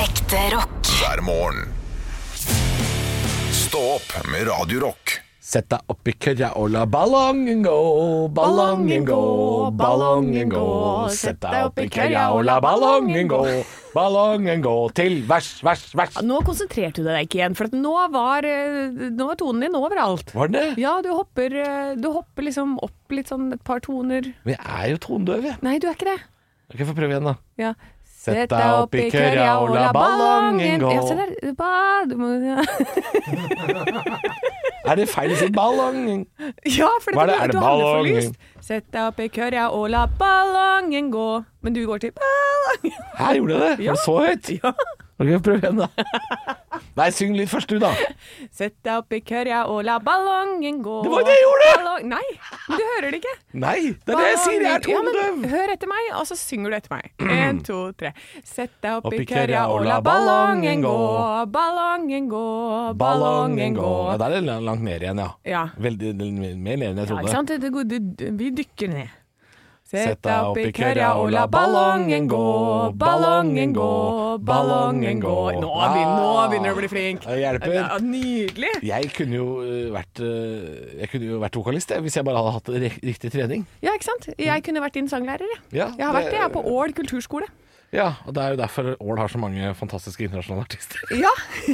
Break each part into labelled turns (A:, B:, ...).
A: Ekte rock.
B: hver morgen. Stå opp med Radio Rock.
C: Sett deg oppi køya og la ballongen gå, ballongen gå, ballongen gå. Sett deg oppi køya og la ballongen gå, ballongen gå til vers, vers, vers.
D: Ja, Nå konsentrerte du deg ikke igjen, for at nå var, eh, nå var tonen din overalt.
C: Var den det?
D: Ja, du hopper, eh, du hopper liksom opp litt sånn et par toner.
C: Men jeg er jo tondøv, jeg.
D: Nei, du er ikke det.
C: Ok, Få prøve igjen, da.
D: Ja.
C: Sett deg opp i køya og la ballongen gå.
D: Ja, se der. Ba- du må-
C: Er det feil å si ballongen?
D: Ja, for
C: Hva er
D: du,
C: det? Er det
D: du hadde for
C: ballongen?
D: lyst. Sett deg opp i køya og la ballongen gå. Men du går til ballongen.
C: Her gjorde jeg det. Var det så høyt?
D: Ja.
C: Ok, Få prøve igjen, da. Nei, syng litt først, du, da.
D: Sett deg opp i køya og la ballongen gå.
C: Det var det jeg gjorde!
D: Ballong- Nei, men du hører det ikke.
C: Nei, det er det jeg sier. Jeg er
D: Ja, men
C: tondøv.
D: Hør etter meg, og så synger du etter meg. En, to, tre. Sett deg opp
C: Opp
D: i
C: i
D: køya og la ballongen gå, ballongen gå, ballongen gå.
C: Ja, der er det langt ned igjen, ja.
D: Ja.
C: Veldig, mer ned enn jeg
D: Ja,
C: trodde.
D: ikke sant? Det, det, det, vi dykker ned.
C: Sett deg opp i køya og la ballongen gå, ballongen gå, ballongen gå. Ah,
D: Nå begynner, nå begynner du å bli flink.
C: Det hjelper.
D: Ja, nydelig.
C: Jeg kunne jo øh, vært, øh, jeg kunne jo vært vokalist jeg, hvis jeg bare hadde hatt re- riktig trening.
D: Ja, ikke sant? Jeg kunne vært din sanglærer, jeg.
C: Ja,
D: Jeg har
C: det-
D: vært det, jeg, på Ål kulturskole.
C: Ja, og Det er jo derfor Ål har så mange fantastiske internasjonale artister.
D: Ja.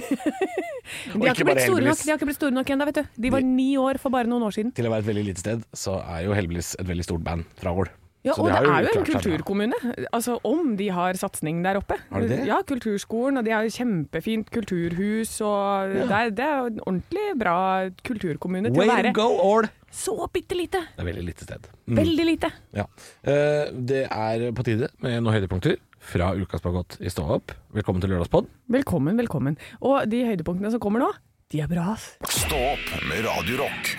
D: de, har
C: ikke
D: ikke
C: bare
D: blitt store nok,
C: Elvis.
D: de har ikke blitt store nok ennå, vet du. De var ni år for bare noen år siden.
C: Til å være et veldig lite sted, så er jo Heldigvis et veldig stort band fra Ål.
D: Ja,
C: Så
D: og det
C: har
D: er
C: klart
D: jo en
C: seg bra.
D: kulturkommune. Altså om de har satsing der oppe.
C: Har de det?
D: Ja, kulturskolen, og de har kjempefint kulturhus, og det, er, det er jo en ordentlig bra kulturkommune til å
C: Way
D: være.
C: to go, Mm. Ål!
D: Så bitte lite.
C: Det er et veldig lite sted.
D: Veldig lite.
C: Ja. Eh, det er på tide med noen høydepunkter fra ukas Bagott i Stå opp. Velkommen til lørdagspod.
D: Velkommen, velkommen. Og de høydepunktene som kommer nå, de er bra, ass.
B: Stå opp med Radio Rock.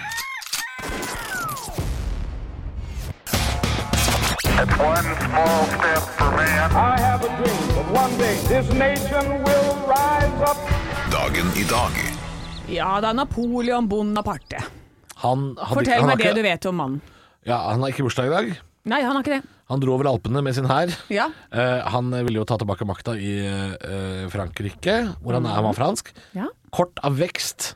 E: One small step for man.
F: I have a dream that one day this nation will rise up.
B: Dagen i dag.
D: Ja da, Napoleon Bonaparte.
C: Han hadde-
D: Fortell
C: han har
D: meg det
C: ikke-
D: du vet om mannen.
C: Ja, han har ikke bursdag i dag.
D: Nei, han har ikke det.
C: Han dro over Alpene med sin hær.
D: Ja.
C: Eh, han ville jo ta tilbake makta i eh, Frankrike, hvor han, er, han var fransk.
D: Ja. Mm.
C: Kort av vekst.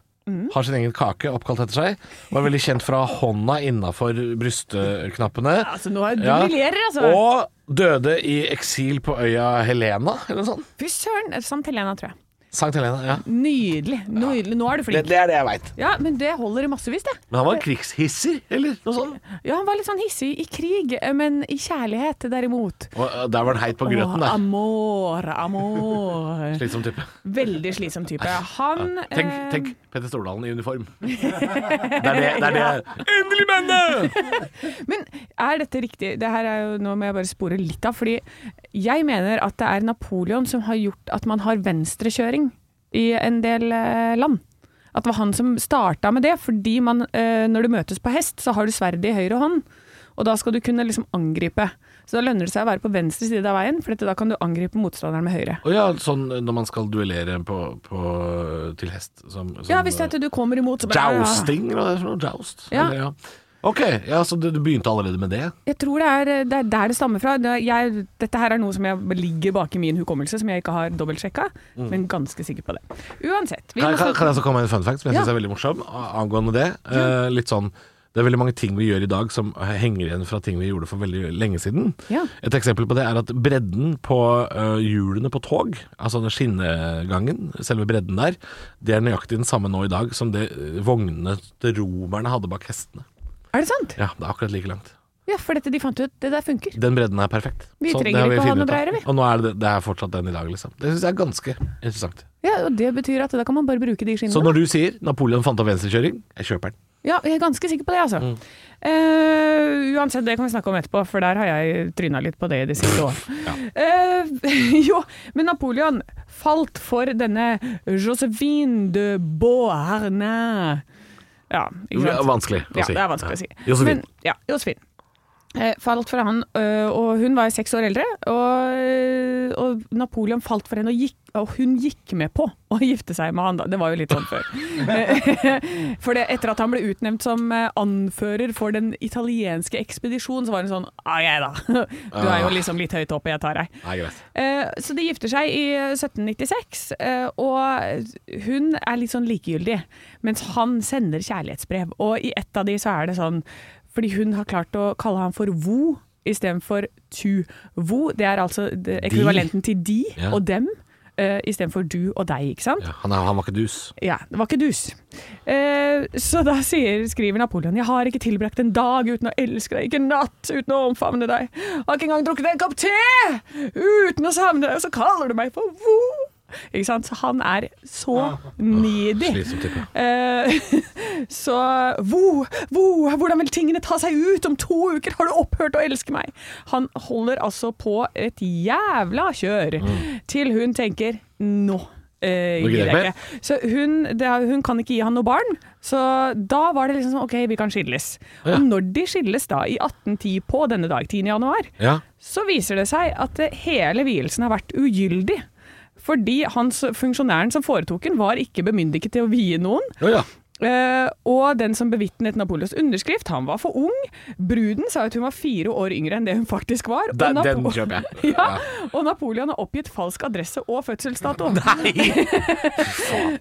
C: Har sin egen kake oppkalt etter seg. Var veldig kjent fra hånda innafor brystknappene.
D: Altså, nå er du briljerer, altså.
C: Og døde i eksil på øya Helena, eller noe sånt.
D: Fy søren. Sant Helena, tror jeg.
C: Sankt Helena, ja.
D: Nydelig. Nydelig. Nå er du flink.
C: er det jeg veit.
D: Ja, men det holder i massevis, det.
C: Men han var en krigshisser, eller noe sånt.
D: Ja, han var litt sånn hissig i krig, men i kjærlighet derimot.
C: Og eh, der var han heit på grøten,
D: Åh,
C: der.
D: amor, amor.
C: Slitsom type.
D: Veldig slitsom type. Han
C: Tenk,
D: eh,
C: tenk Petter Stordalen i uniform. Det er det, det, er det. Endelig, bandet!
D: Men er dette riktig? Det her er jo, nå må jeg bare spore litt av, fordi jeg mener at det er Napoleon som har gjort at man har venstrekjøring i en del eh, land. At det var han som starta med det, fordi man, eh, når du møtes på hest, så har du sverdet i høyre hånd, og da skal du kunne liksom angripe. Så da lønner det seg å være på venstre side av veien, for dette, da kan du angripe motstanderen med høyre.
C: Å ja, sånn når man skal duellere på, på, til hest som, som eh,
D: Ja, hvis det er at du kommer imot, så bare
C: Jousting, eller hva er det for noe? Joust?
D: Ja.
C: Eller, ja. Ok, ja, så du, du begynte allerede med det?
D: Jeg tror det er, det er der det stammer fra. Det, jeg, dette her er noe som jeg ligger bak i min hukommelse, som jeg ikke har dobbeltsjekka, men ganske sikker på det. Uansett.
C: Mm. Kan,
D: Vi må
C: kan,
D: snakke-
C: kan jeg så komme med en fun fact som jeg
D: Ja.
C: synes er veldig morsom a- angående det? Eh, litt sånn det er veldig mange ting vi gjør i dag som henger igjen fra ting vi gjorde for veldig lenge siden.
D: Ja.
C: Et eksempel på det er at bredden på eh, hjulene på tog, altså den skinnegangen, selve bredden der, det er nøyaktig den samme nå i dag som det eh, vognene til romerne hadde bak hestene.
D: Er det sant?
C: Ja, det er akkurat like langt.
D: Ja, for dette de fant ut. Det der funker.
C: Den bredden er perfekt.
D: Vi
C: Sånn, det
D: trenger
C: har
D: ikke å ha
C: funnet
D: noe
C: ut av.
D: bredere, vi.
C: Og nå er det, det er fortsatt den i dag, liksom. Det syns jeg er ganske interessant.
D: Ja, og Det betyr at da kan man bare bruke de skinnene.
C: Så når du sier Napoleon fant opp venstrekjøring, jeg kjøper den.
D: Ja, jeg er ganske sikker på
C: Mm.
D: det, altså. Eh, uansett, det kan vi snakke om etterpå, for der har jeg tryna litt på det i det siste år. Eh, jo, men Napoleon falt for denne Josephine de Beauharnais. Ja, ikke sant?
C: Det er vanskelig å
D: ja,
C: si.
D: det er vanskelig å si.
C: Josefin.
D: Men, ja, Josefin. eh, falt for han, øh, og hun var jo seks år eldre, og, og Napoleon falt for henne, og, gikk, og hun gikk med på å gifte seg med han. da. Det var jo litt sånn før. Eh, for det, etter at han ble utnevnt som eh, anfører for den italienske ekspedisjonen, så var hun sånn Ja, jeg, da. Du er
C: Ah.
D: jo liksom litt høyt oppe, jeg tar deg.
C: Nei, greit.
D: Eh, Så de gifter seg i 1796, eh, og hun er litt sånn likegyldig, mens han sender kjærlighetsbrev. Og i ett av de så er det sånn, fordi hun har klart å kalle han for Vo istedenfor Tu. Vo, det er altså det ekvivalenten til de
C: Ja.
D: og dem, eh, istedenfor du og deg, ikke sant?
C: Ja, han, er, han var ikke dus.
D: Ja, det var ikke dus. Eh, så da sier, skriver Napoleon Jeg har ikke tilbrakt en dag uten å elske deg, ikke en natt uten å omfavne deg. Jeg har ikke engang drukket en kopp te uten å savne deg, og så kaller du meg for Vo. Ikke sant? Så han er så needy.
C: Slitsom type.
D: Eh, så Vo, Vo, hvordan vil tingene ta seg ut om to uker? Har du opphørt å elske meg? Han holder altså på et jævla kjør til hun tenker nå.
C: Mm.
D: eh,
C: Nå gidder jeg
D: gidder
C: ikke
D: jeg
C: mer.
D: ikke. Så hun, det, er- hun kan ikke gi han noe barn, så da var det liksom sånn OK, vi kan skilles.
C: Ja.
D: Og når de skilles da, i 1810 på denne dag, 10. januar,
C: Ja.
D: så viser det seg at eh, hele vielsen har vært ugyldig. Fordi hans funksjonæren som foretok den, var ikke bemyndiget til å vie noen.
C: Å ja.
D: Eh, og den som bevitnet Napoleons underskrift, han var for ung. Bruden sa at hun var fire år yngre enn det hun faktisk var.
C: Den-
D: og
C: den kjøper jeg.
D: ja, og Napoleon har oppgitt falsk adresse og fødselsdato.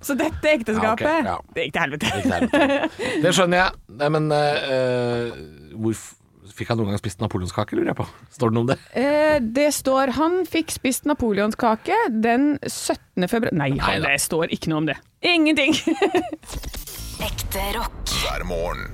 D: Så dette ekteskapet
C: Ja, ok, ja.
D: Det gikk til helvete.
C: Ikke det hele tatt. Det skjønner jeg. Nei, men eh, eh, hvorf- Fikk han noen gang spist napoleonskake, lurer jeg på. Står det noe om det?
D: Eh, det står han fikk spist napoleonskake den 17. februar Nei, han,
C: Neida.
D: det står ikke noe om det. Ingenting!
A: Ekte rock.
B: hver morgen.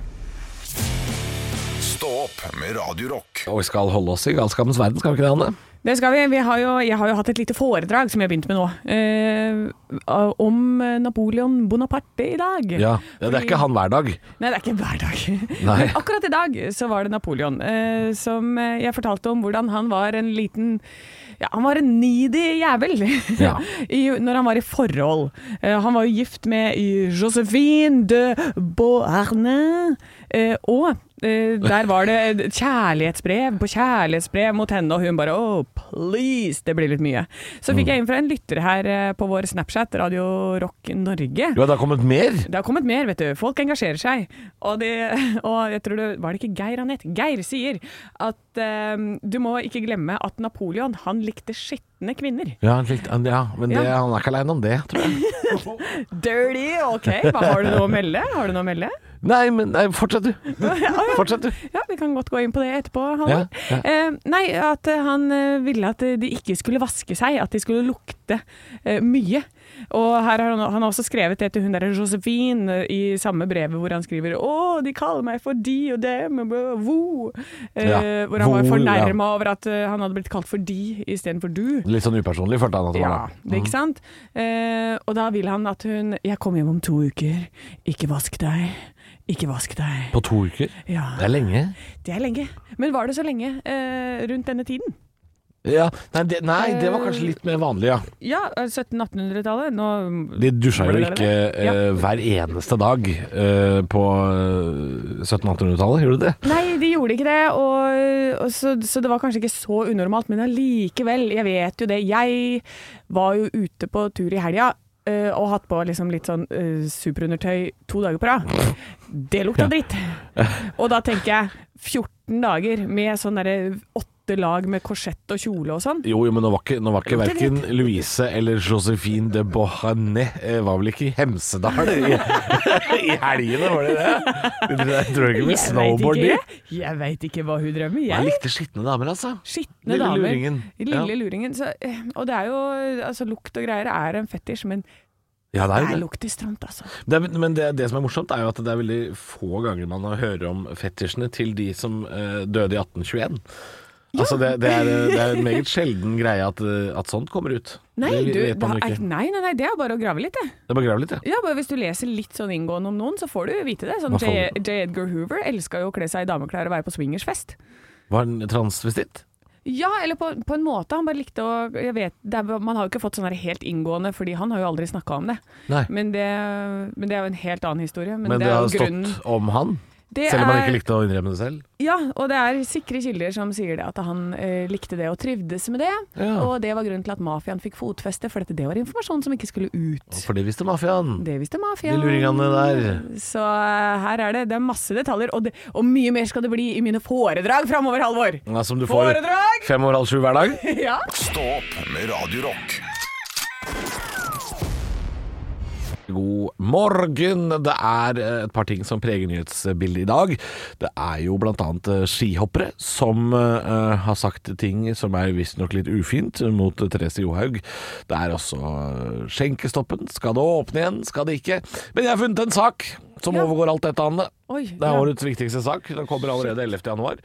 B: Stå opp med Radio Rock.
C: Og vi skal holde oss i galskapens verden, skal vi ikke det, Anne?
D: Det skal vi. vi har jo, jeg har jo hatt et lite foredrag som jeg har begynt med nå, eh, om Napoleon Bonaparte i dag.
C: Ja. Det er ikke han hver dag.
D: Nei, det er ikke hver dag.
C: Nei.
D: Men akkurat i dag så var det Napoleon, eh, som eh, jeg fortalte om hvordan han var en liten ja, Han var en needy jævel
C: Ja.
D: I, når han var i forhold. Eh, han var jo gift med eh, Josephine de Beauharnais, eh, og eh, der var det kjærlighetsbrev på kjærlighetsbrev mot henne, og hun bare oh, please, det blir litt mye. Så
C: Mm.
D: fikk jeg inn fra en lytter her eh, på vår Snapchat, Radio Rock Norge.
C: Jo, det har kommet mer.
D: Det har kommet mer, vet du. Folk engasjerer seg. Og, det, og jeg tror det Var det ikke Geir Anette? Geir sier at eh, du må ikke glemme at Napoleon, han likte skitne kvinner.
C: Ja, han likte- ja men det,
D: Ja.
C: han er ikke aleine om det, tror jeg.
D: Dirty! OK, hva, har du noe å melde? Har du noe å melde?
C: Nei, men nei, fortsett, du. Fortsett, du.
D: Ja, vi kan godt gå inn på det etterpå,
C: Ja,
D: Halvor.
C: ja.
D: Eh, nei, at eh, han eh, ville at eh, de ikke skulle vaske seg, at de skulle lukte eh, mye. Og her har han, han har også skrevet det til hun derre Josephine eh, i samme brevet, hvor han skriver Å, de kaller meg for de og dem, og bø- vo. Eh,
C: Ja,
D: Hvor han
C: vo,
D: var
C: ja.
D: fornærma over at eh, han hadde blitt kalt for de istedenfor du.
C: Litt sånn upersonlig følte han at det
D: Ja,
C: var. da.
D: det, ikke sant? Eh, og da vil han at hun Jeg kommer hjem om to uker. Ikke vask deg. Ikke vask deg.
C: På to uker.
D: Ja.
C: Det er lenge.
D: Det er lenge. Men var det så lenge eh, rundt denne tiden?
C: Ja, nei, det, nei, det var
D: Eh.
C: kanskje litt mer vanlig, ja.
D: Ja, 1700-1800-tallet. Nå mm,
C: De dusja jo ikke
D: Ja.
C: eh, hver eneste dag eh, på 1700-1800-tallet, gjorde de det?
D: Nei, de gjorde ikke det, og, og så, så det var kanskje ikke så unormalt. Men allikevel, jeg vet jo det. Jeg var jo ute på tur i helga. eh, og hatt på liksom litt sånn eh, superundertøy to dager på rad. Det lukta dritt. Og da tenker jeg 14 dager med sånn derre åtte lag med korsett og kjole og sånn.
C: Jo, jo, men nå var ikke, nå var ikke verken Louise eller Josephine de Beauharnais eh, var vel ikke i Hemsedal i, i helgene, var det det? Jeg tror ikke med
D: Jeg vet
C: snowboard de.
D: ikke, jeg veit ikke hva hun drømmer. Jeg
C: Jeg likte skitne damer, altså.
D: Skitne
C: Lille
D: damer.
C: luringen.
D: Lille
C: Ja.
D: luringen. Så, eh, og det er jo altså, Lukt og greier er en fetisj, men
C: Ja, det
D: det
C: er
D: er
C: jo det.
D: lukt i stramt, altså.
C: det er, men det, det som er morsomt, er jo at det er veldig få ganger man hører om fetisjene til de som eh, døde i 1821. Altså det, det, er, eh, det er en meget sjelden greie at, eh, at sånt kommer ut.
D: Nei,
C: det
D: du,
C: vet man
D: da
C: jo
D: er,
C: ikke.
D: nei, nei, nei, det er bare å grave litt, det.
C: Det er bare å grave litt, ja.
D: Ja, bare Hvis du leser litt sånn inngående om noen, så får du vite det. Sånn
C: Hva
D: J.
C: faller det?
D: J. Edgar Hoover elska jo å kle seg i dameklær og være på swingersfest.
C: Var han transvestitt?
D: Ja, eller på, på en måte. Han bare likte å jeg vet, det er, Man har jo ikke fått sånn her helt inngående, fordi han har jo aldri snakka om det.
C: Nei.
D: Men det. Men det er jo en helt annen historie. Men,
C: Men
D: det
C: det
D: er
C: har
D: jo grunnen
C: stått om han?
D: Det
C: Selv om han
D: er-
C: ikke likte å innrømme det selv.
D: Ja, og det er sikre kilder som sier det at han eh, likte det og trivdes med det.
C: Ja.
D: Og det var grunnen til at mafiaen fikk fotfeste, for dette, det var informasjon som ikke skulle ut.
C: For det visste mafiaen.
D: Det visste mafiaen.
C: De luringene der.
D: Så eh, her er det, det er masse detaljer, og, det, og mye mer skal det bli i mine foredrag framover, Halvor.
C: Ja, som Mm, du får
D: Foredrag!
C: fem over halv sju hver dag.
D: ja.
B: Stå opp med Radio Rock.
C: God morgen. Det er eh, et par ting som preger nyhetsbildet i dag. Det er jo blant annet eh, skihoppere som eh, har sagt ting som er visstnok litt ufint mot eh, Therese Johaug. Det er også eh, skjenkestoppen. Skal det åpne igjen? Skal det ikke? Men jeg har funnet en sak som
D: Ja.
C: overgår alt dette, Anne.
D: Oi,
C: Det er årets viktigste sak. Den kommer allerede 11. januar.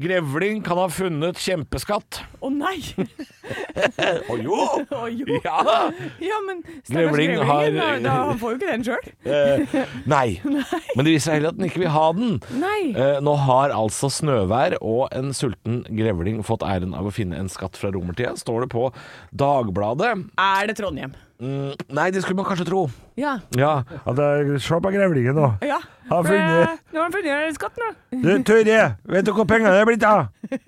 C: Grevling kan ha funnet kjempeskatt.
D: Å nei!
C: Å jo!
D: Å jo!
C: Ja!
D: Ja, men stakkars
C: Grevling
D: grevlingen,
C: har-
D: da- da, han får jo ikke den sjøl.
C: Eh, nei. Men det viser seg heller at den ikke vil ha den.
D: Nei.
C: Eh, nå har altså Snøvær og en sulten grevling fått æren av å finne en skatt fra romertida, står det på Dagbladet.
D: Er det Trondheim?
C: Mm, nei, det skulle man kanskje tro.
D: Ja.
C: Ja.
G: Se på grevlingen nå.
D: ja.
G: Har funnet-
D: Nå har han funnet skatten,
C: Eh,
D: da.
G: Du, Tørre, vet du hvor pengene er blitt av?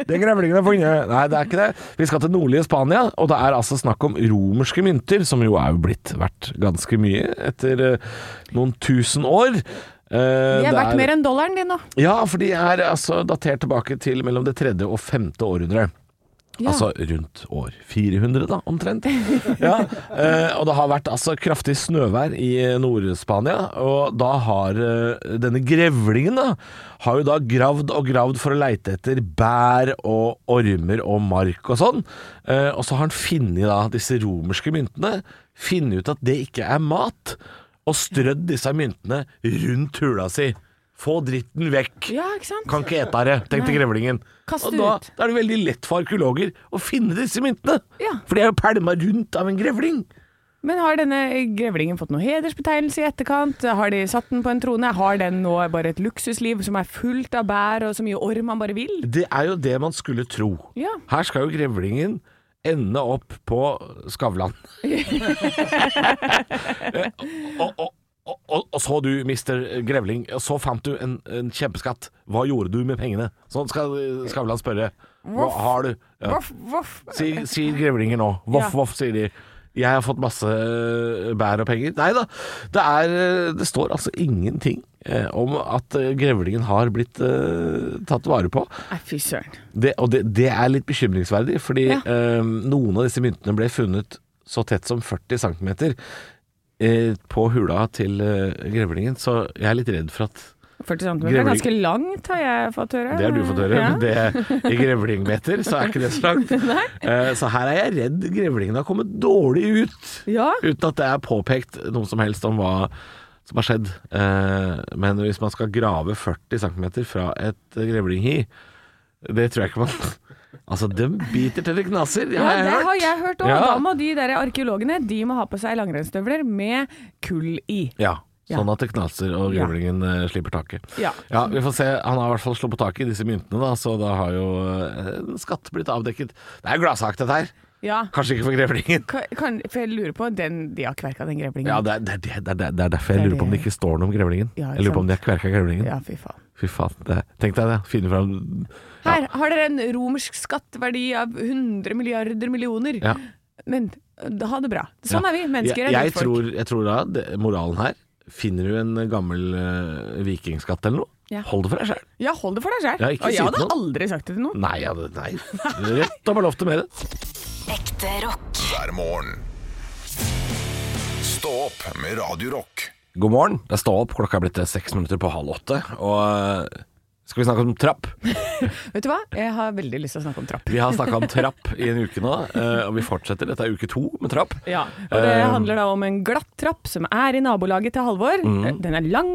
G: Det grevlingen har funnet.
C: Nei, det er ikke det. Vi skal til nordlige Spania, og det er altså snakk om romerske mynter, som jo er jo blitt verdt ganske mye etter eh, noen tusen år. Eh,
D: De
C: det
D: er verdt
C: er-
D: mer enn dollaren din nå.
C: Ja, for de er altså datert tilbake til mellom det tredje og femte århundre.
D: Ja.
C: Altså rundt år 400, da, omtrent. Ja, eh, og det har vært altså kraftig snøvær i eh, Nord-Spania, og da har eh, denne grevlingen da, har jo da gravd og gravd for å leite etter bær og ormer og mark og sånn. Eh, og så har han funnet da disse romerske myntene, funnet ut at det ikke er mat, og strødd disse myntene rundt hula si. Få dritten vekk!
D: Ja, ikke sant?
C: Kan ikke ete det, tenkte
D: Nei.
C: grevlingen.
D: Kast
C: og
D: det
C: da,
D: ut.
C: da er det veldig lett for arkeologer å finne disse myntene.
D: Ja.
C: For de er jo pælma rundt av en grevling.
D: Men har denne grevlingen fått noen hedersbetegnelse i etterkant? Har de satt den på en trone? Har den nå bare et luksusliv som er fullt av bær og så mye orm man bare vil?
C: Det er jo det man skulle tro.
D: Ja.
C: Her skal jo grevlingen ende opp på Skavlan. Eh, og, og, og, og, og så du, mister Grevling, og så fant du en, en kjempeskatt. Hva gjorde du med pengene? Sånn skal Skavlan spørre. Hva har du? Ja.
D: Voff, voff.
C: sier, sier grevlinger nå. Voff,
D: Ja.
C: voff, sier de. Jeg har fått masse øh, bær og penger. Nei da, det, er, øh, det står altså ingenting eh, om at øh, grevlingen har blitt eh, tatt vare på.
D: Nei, fy søren.
C: Det, og det, det er litt bekymringsverdig, fordi
D: Ja.
C: eh, noen av disse myntene ble funnet så tett som 40 cm eh, på hula til eh, grevlingen, så jeg er litt redd for at
D: 40 cm er ganske langt, har jeg fått høre.
C: det har du fått høre,
D: Ja.
C: men det, i grevlingmeter så er ikke det så langt. Eh, Så her er jeg redd grevlingen har kommet dårlig ut,
D: Ja.
C: uten at det er påpekt noe som helst om hva som har skjedd. Eh, Men hvis man skal grave 40 cm fra et grevlinghi, det tror jeg ikke man Altså, de biter til det knaser, det
D: Ja,
C: har jeg
D: det
C: hørt.
D: har jeg hørt òg.
C: Ja.
D: Da må de der arkeologene de må ha på seg langrennsstøvler med kull i.
C: Ja,
D: Ja.
C: sånn at det knaser og
D: Ja.
C: grevlingen eh, slipper taket.
D: Ja.
C: vi får se. Han har i hvert fall sluppet taket i disse myntene, da, så da har jo eh, en skatt blitt avdekket. Det er jo gladsak, dette her.
D: Ja.
C: Kanskje ikke for grevlingen.
D: Kan, kan, for jeg lurer på den, De har kverka den grevlingen.
C: Ja, det er, det, er, det, er, det er derfor
D: Det
C: jeg
D: er
C: lurer på om det
D: det.
C: ikke står noe om grevlingen.
D: Ja, ikke
C: Jeg lurer på om de har kverka grevlingen.
D: Ja, fy faen.
C: Fy faen. Det, tenk deg det. Finne fram
D: Her har dere en romersk skattverdi av 100 milliarder millioner.
C: Ja.
D: Men eh, ha det bra. Sånn
C: Ja.
D: er vi. Mennesker
C: jeg,
D: er
C: jeg,
D: folk.
C: tror, jeg tror da det, moralen her Finner du en gammel eh, vikingskatt eller noe,
D: Ja.
C: hold det for deg sjøl.
D: Ja, hold det for deg sjøl.
C: Ja, ikke
D: og
C: si
D: jeg
C: det
D: hadde
C: til noen.
D: aldri sagt det til noen.
C: Nei, ja, det- nei. Rett og bare lov til med det.
A: Ekte rock.
B: hver morgen. Stå opp med Radio Rock.
C: God morgen. Det er stå opp. Klokka er blitt eh, seks minutter på halv åtte. Og eh, skal vi snakke om trapp?
D: Vet du hva? Jeg har veldig lyst til å snakke om trapp.
C: Vi har snakka om trapp i en uke nå, eh, og vi fortsetter. Dette er uke to med trapp.
D: Ja, og Det
C: Eh,
D: handler da om en glatt trapp som er i nabolaget til Halvor.
C: Mm.
D: Eh, Den er lang,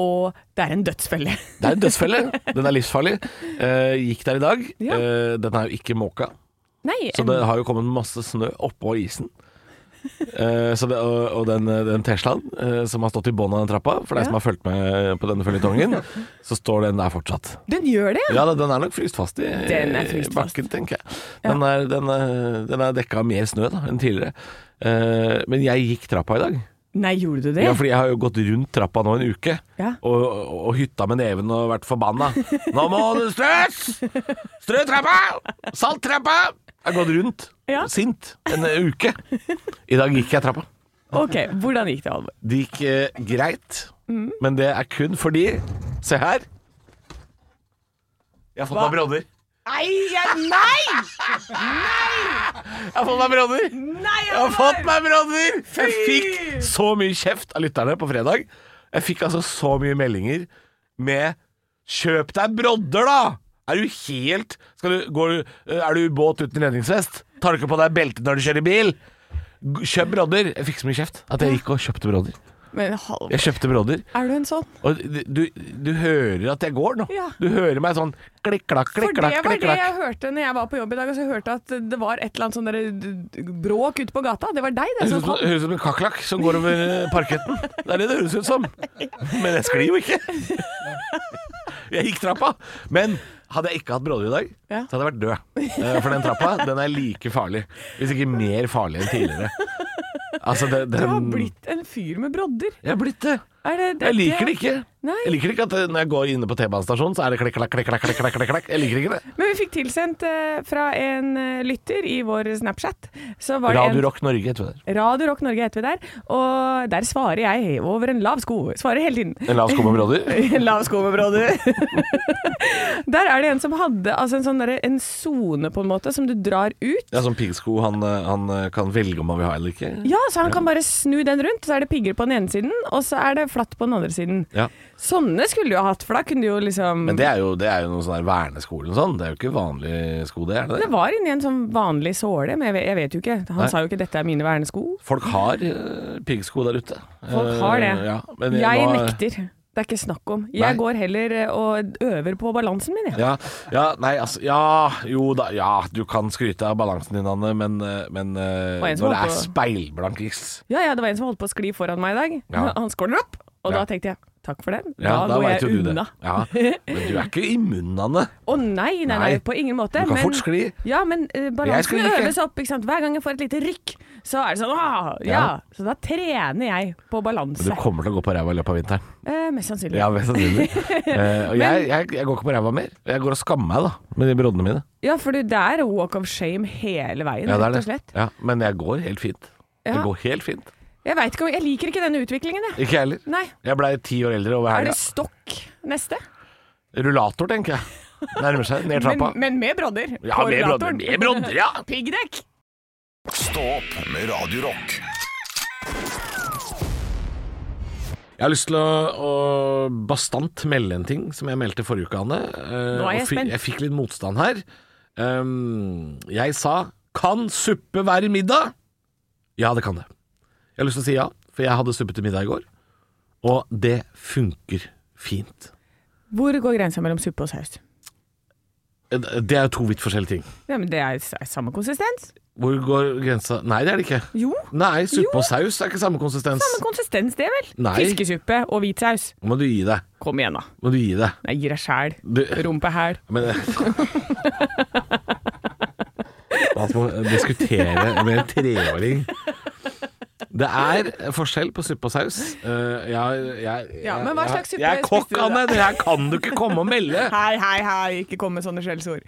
D: og det er en dødsfelle.
C: Det er en dødsfelle. Den er livsfarlig. Eh, gikk der i dag.
D: Ja.
C: Eh, den er jo ikke måka,
D: Nei,
C: så det har jo kommet masse snø oppå isen. Eh, så det, og, og den, den Teslaen eh, som har stått i bånn av den trappa, for deg
D: Ja.
C: som har fulgt med på denne føljetongen, så står den der fortsatt.
D: den gjør det, ja.
C: Ja, den- den er nok fryst fast i
D: Den er fryst
C: i
D: fast.
C: bakken, tenker jeg. Den, er, den, er, den er dekka av mer snø da, enn tidligere. Eh, men jeg gikk trappa i dag.
D: Nei, gjorde du det?
C: Ja, fordi jeg har jo gått rundt trappa nå en uke
D: Ja.
C: og, og, og hytta med neven og vært forbanna. Nå må du strøs! Strø trappa! Salt trappa! Jeg har gått rundt,
D: Ja.
C: sint, en uke. I dag gikk jeg trappa.
D: Ok, hvordan gikk det, Halvor?
C: Det gikk eh, greit, men det er kun fordi Se her. Jeg har fått meg brodder.
D: Nei, jeg- nei!
C: Jeg har fått meg brodder!
D: Nei,
C: Jeg har
D: Halvor!
C: fått meg brodder! Jeg fikk så mye kjeft av lytterne på fredag. Jeg fikk altså så mye meldinger med 'kjøp deg brodder', da! Er du helt skal du, går, du- Er du i båt uten redningsvest? Tar du ikke på deg belte når du kjører bil? G- Kjøp brodder! Jeg fikk så mye kjeft at jeg gikk og kjøpte brodder.
D: Men Halvor,
C: Jeg kjøpte brodder.
D: er du en sånn?
C: Og d- du, du hører at jeg går nå.
D: Ja.
C: Du hører meg sånn klikk-klakk,
D: For det
C: klikk-klakk,
D: var det jeg
C: klikk-klakk.
D: hørte når jeg var på jobb i dag. Altså, jeg hørte at det var et eller annet sånn der, d- d- bråk ute på gata. Det var deg, det
C: Det
D: som
C: høres ut som-
D: kom.
C: høres ut som en kakerlakk som går over eh, parketten. Det er det det høres ut som. Men jeg sklir jo ikke. Jeg gikk trappa. Men hadde jeg ikke hatt brodder i dag,
D: Ja.
C: så hadde jeg vært død. Eh, For den trappa, den er like farlig. Hvis ikke mer farlig enn tidligere. Altså, det, den
D: Du har blitt en fyr med brodder.
C: Jeg har blitt det.
D: Er det, det,
C: Jeg liker det ikke.
D: Nei.
C: Jeg liker ikke at eh, når jeg går inne på T-banestasjonen, så er det klikk-klakk, klikk-klakk, klikk-klakk, klikk-klakk. Jeg liker ikke det.
D: Men vi fikk tilsendt eh, fra en eh, lytter i vår Snapchat. Så var det en-
C: Radio Rock Norge, heter det.
D: Radio Rock Norge heter vi der, og der svarer jeg over en lav sko. Svarer hele tiden.
C: En lav sko med brodder?
D: En lav sko med brodder. der er det en som hadde altså en sånn derre- en sone, på en måte, som du drar ut.
C: Ja, sånn piggsko. Han, eh, han eh, kan velge om han vil ha eller ikke.
D: Ja, så han kan bare snu den rundt, så er det pigger på den ene siden, og så er det flatt på den andre siden.
C: Ja.
D: Sånne skulle du jo hatt, for da kunne du jo liksom
C: Men det er jo, det er jo noen sånn der verneskole og sånn. Det er jo ikke vanlig sko, det er det
D: Det
C: det?
D: var inni en sånn vanlig såle, men jeg vet, jeg vet jo ikke. Han
C: Nei.
D: sa jo ikke 'dette er mine vernesko'.
C: Folk har eh, piggsko der ute.
D: Folk har det.
C: Eh, Ja, men
D: jeg
C: nå-
D: nekter. Det er ikke snakk om. Jeg
C: Nei.
D: går heller eh, og øver på balansen min, jeg.
C: Ja, ja, nei, altså Ja, jo da. Ja, du kan skryte av balansen din, Anne, men, eh, men eh,
D: Og en som
C: når det er
D: holdt
C: speilblank is
D: Ja, ja, det var en som holdt på å skli foran meg i dag.
C: Ja.
D: Han skåler opp, og
C: Ja.
D: da tenkte jeg takk for den.
C: ja,
D: da, går
C: vet
D: jeg
C: jo du det.
D: unna.
C: Ja, men du er ikke immun, Anne.
D: Å nei, nei, nei,
C: Nei.
D: på ingen måte.
C: Du kan
D: men-
C: fort skli.
D: Ja, men eh, balansen
C: sklir ikke.
D: øves opp. ikke sant? Hver gang jeg får et lite rykk, så er det sånn ah, ja.
C: Ja.
D: Så da trener jeg på
C: Du
D: balanse.
C: kommer til å gå på ræva i løpet av vinteren.
D: Eh, mest sannsynlig.
C: Ja, mest sannsynlig. Eh, og jeg, jeg, jeg går ikke på ræva mer. Jeg går og skammer meg, da, med de broddene mine.
D: Ja, for det er walk of shame hele veien,
C: Ja, det er
D: rett og
C: det.
D: slett.
C: Ja, men jeg går helt fint.
D: Ja.
C: Jeg går helt fint.
D: Jeg vet ikke om, jeg liker ikke denne utviklingen, jeg.
C: Ikke jeg heller.
D: Nei.
C: Jeg blei ti år eldre over
D: Er
C: helga.
D: det stokk neste?
C: Rullator, tenker jeg. Nærmer seg. Ned
D: Men,
C: trappa.
D: men med brodder.
C: ja,
D: på
C: med brodder.
D: rullatoren.
C: Med brodder, ja!
D: Piggdekk.
B: Stå opp med Radio Rock.
C: Jeg har lyst til å, å bastant melde en ting som jeg meldte forrige uke, Anne. Eh,
D: Nå er jeg
C: og fi-
D: spent.
C: Jeg fikk litt motstand her. Um, jeg sa 'Kan suppe være middag?' Ja, det kan det. Jeg har lyst til å si ja, for jeg hadde suppe til middag i går. Og det funker fint.
D: Hvor går grensa mellom suppe og saus?
C: Eh, Det er jo to vidt forskjellige ting.
D: Ja, men Det er s- er samme konsistens.
C: Hvor går grensa Nei, det er det ikke.
D: Jo.
C: Nei, suppe
D: Jo.
C: og saus er ikke samme konsistens.
D: Samme konsistens, det vel?
C: Nei.
D: Fiskesuppe og hvit saus.
C: Nå Må du gi deg.
D: Kom igjen, da.
C: Må du gi deg.
D: Nei, gir deg sjæl.
C: Du,
D: Rumpehæl.
C: men Man må diskutere med en treåring. Det er forskjell på suppe og saus. Eh, Jeg, jeg, jeg,
D: Ja, men hva slags suppe
C: jeg, jeg er kokk,
D: spiste du da?
C: Anne. Det her kan du ikke komme og melde.
D: Hei, hei, hei, ikke kom med sånne skjellsord.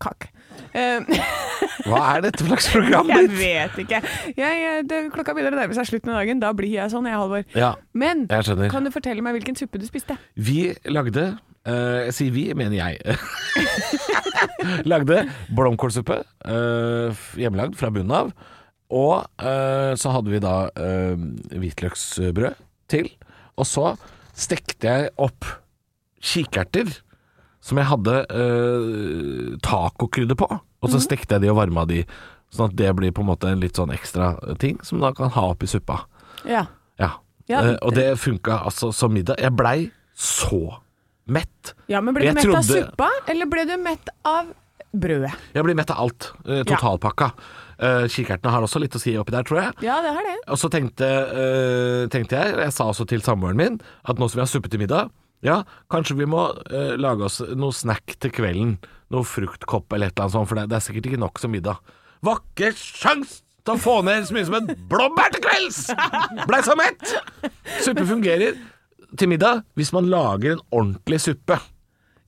D: Kakk. Eh,
C: Hva er dette for slags program
D: jeg
C: ditt?
D: vet ikke. Jeg, eh, det, klokka begynner å nærme seg slutten av dagen. Da blir jeg sånn, jeg, Halvor.
C: Ja,
D: Men
C: jeg skjønner.
D: kan du fortelle meg hvilken suppe du spiste?
C: Vi lagde eh, Jeg sier vi, mener jeg. lagde blomkålsuppe. eh, f- hjemmelagd fra bunnen av. Og eh, så hadde vi da eh, hvitløksbrød til. Og så stekte jeg opp kikerter som jeg hadde eh, tacokrydder på. Og så stekte jeg de og varma de. Sånn at det blir på en måte en litt sånn ekstra ting som man da kan ha oppi suppa.
D: Ja.
C: Ja.
D: Ja,
C: Eh, og det funka altså som middag. Jeg blei så mett.
D: men Ble du
C: Jeg
D: mett av
C: trodde-
D: suppa, eller ble du mett av brødet?
C: Jeg blir mett av alt. eh, totalpakka. Eh, kikertene har også litt å si oppi der, tror jeg.
D: Ja, det har det.
C: Og så tenkte, eh, tenkte jeg, og jeg sa også til samboeren min, at nå som vi har suppe til middag, ja, kanskje vi må eh, lage oss noe snack til kvelden. Noe fruktkopp eller et eller annet sånt, for det, det er sikkert ikke nok som middag. Var ikke sjans! til å få ned så mye som en blåbær til kvelds! Blei så mett! Suppe fungerer til middag hvis man lager en ordentlig suppe.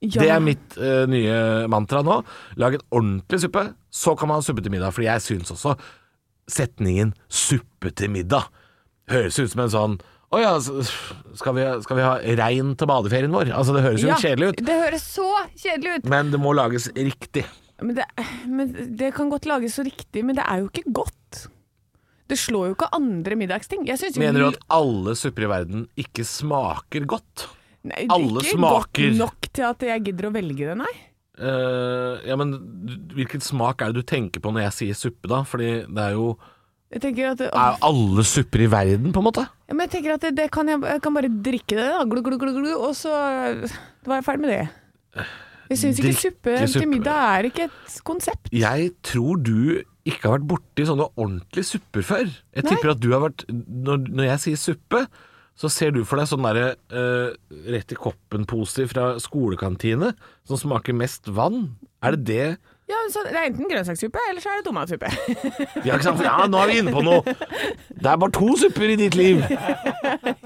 D: Ja.
C: Det er mitt eh, nye mantra nå. Lag en ordentlig suppe, så kan man ha suppe til middag. Fordi jeg syns også setningen 'suppe til middag' høres ut som en sånn Å ja, s- skal vi, skal vi ha rein til badeferien vår? Altså, det høres jo
D: Ja,
C: kjedelig ut.
D: Det høres så kjedelig ut.
C: Men det må lages riktig.
D: Men det, men det kan godt lages så riktig, men det er jo ikke godt. Det slår jo ikke andre middagsting. Jeg synes jo
C: Mener du
D: li-
C: at alle supper i verden ikke smaker godt?
D: Nei,
C: alle
D: ikke
C: smaker-
D: godt nok til at jeg gidder å velge det, nei.
C: Eh, ja, men du- hvilken smak er det du tenker på når jeg sier suppe, da? Fordi det er jo
D: Jeg tenker at,
C: er jo alle supper i verden, på en måte.
D: ja, men jeg tenker at det, det kan jeg, jeg kan bare drikke det, da. Glu, glu, glu, glu, og så Da var jeg ferdig med det. Jeg syns ikke
C: Drikke
D: suppe
C: suppe.
D: til middag er ikke et konsept.
C: Jeg tror du ikke har vært borti sånne ordentlige supper før. Jeg
D: Nei.
C: tipper at du har vært Når, når jeg sier suppe, så ser du for deg sånn derre eh, rett i koppen-pose fra skolekantine som smaker mest vann. Er det det
D: Ja, men så Det er enten grønnsakssuppe, eller så er det tomatsuppe.
C: Ja, ikke sant? For- ja nå er vi inne på noe! Det er bare to supper i ditt liv!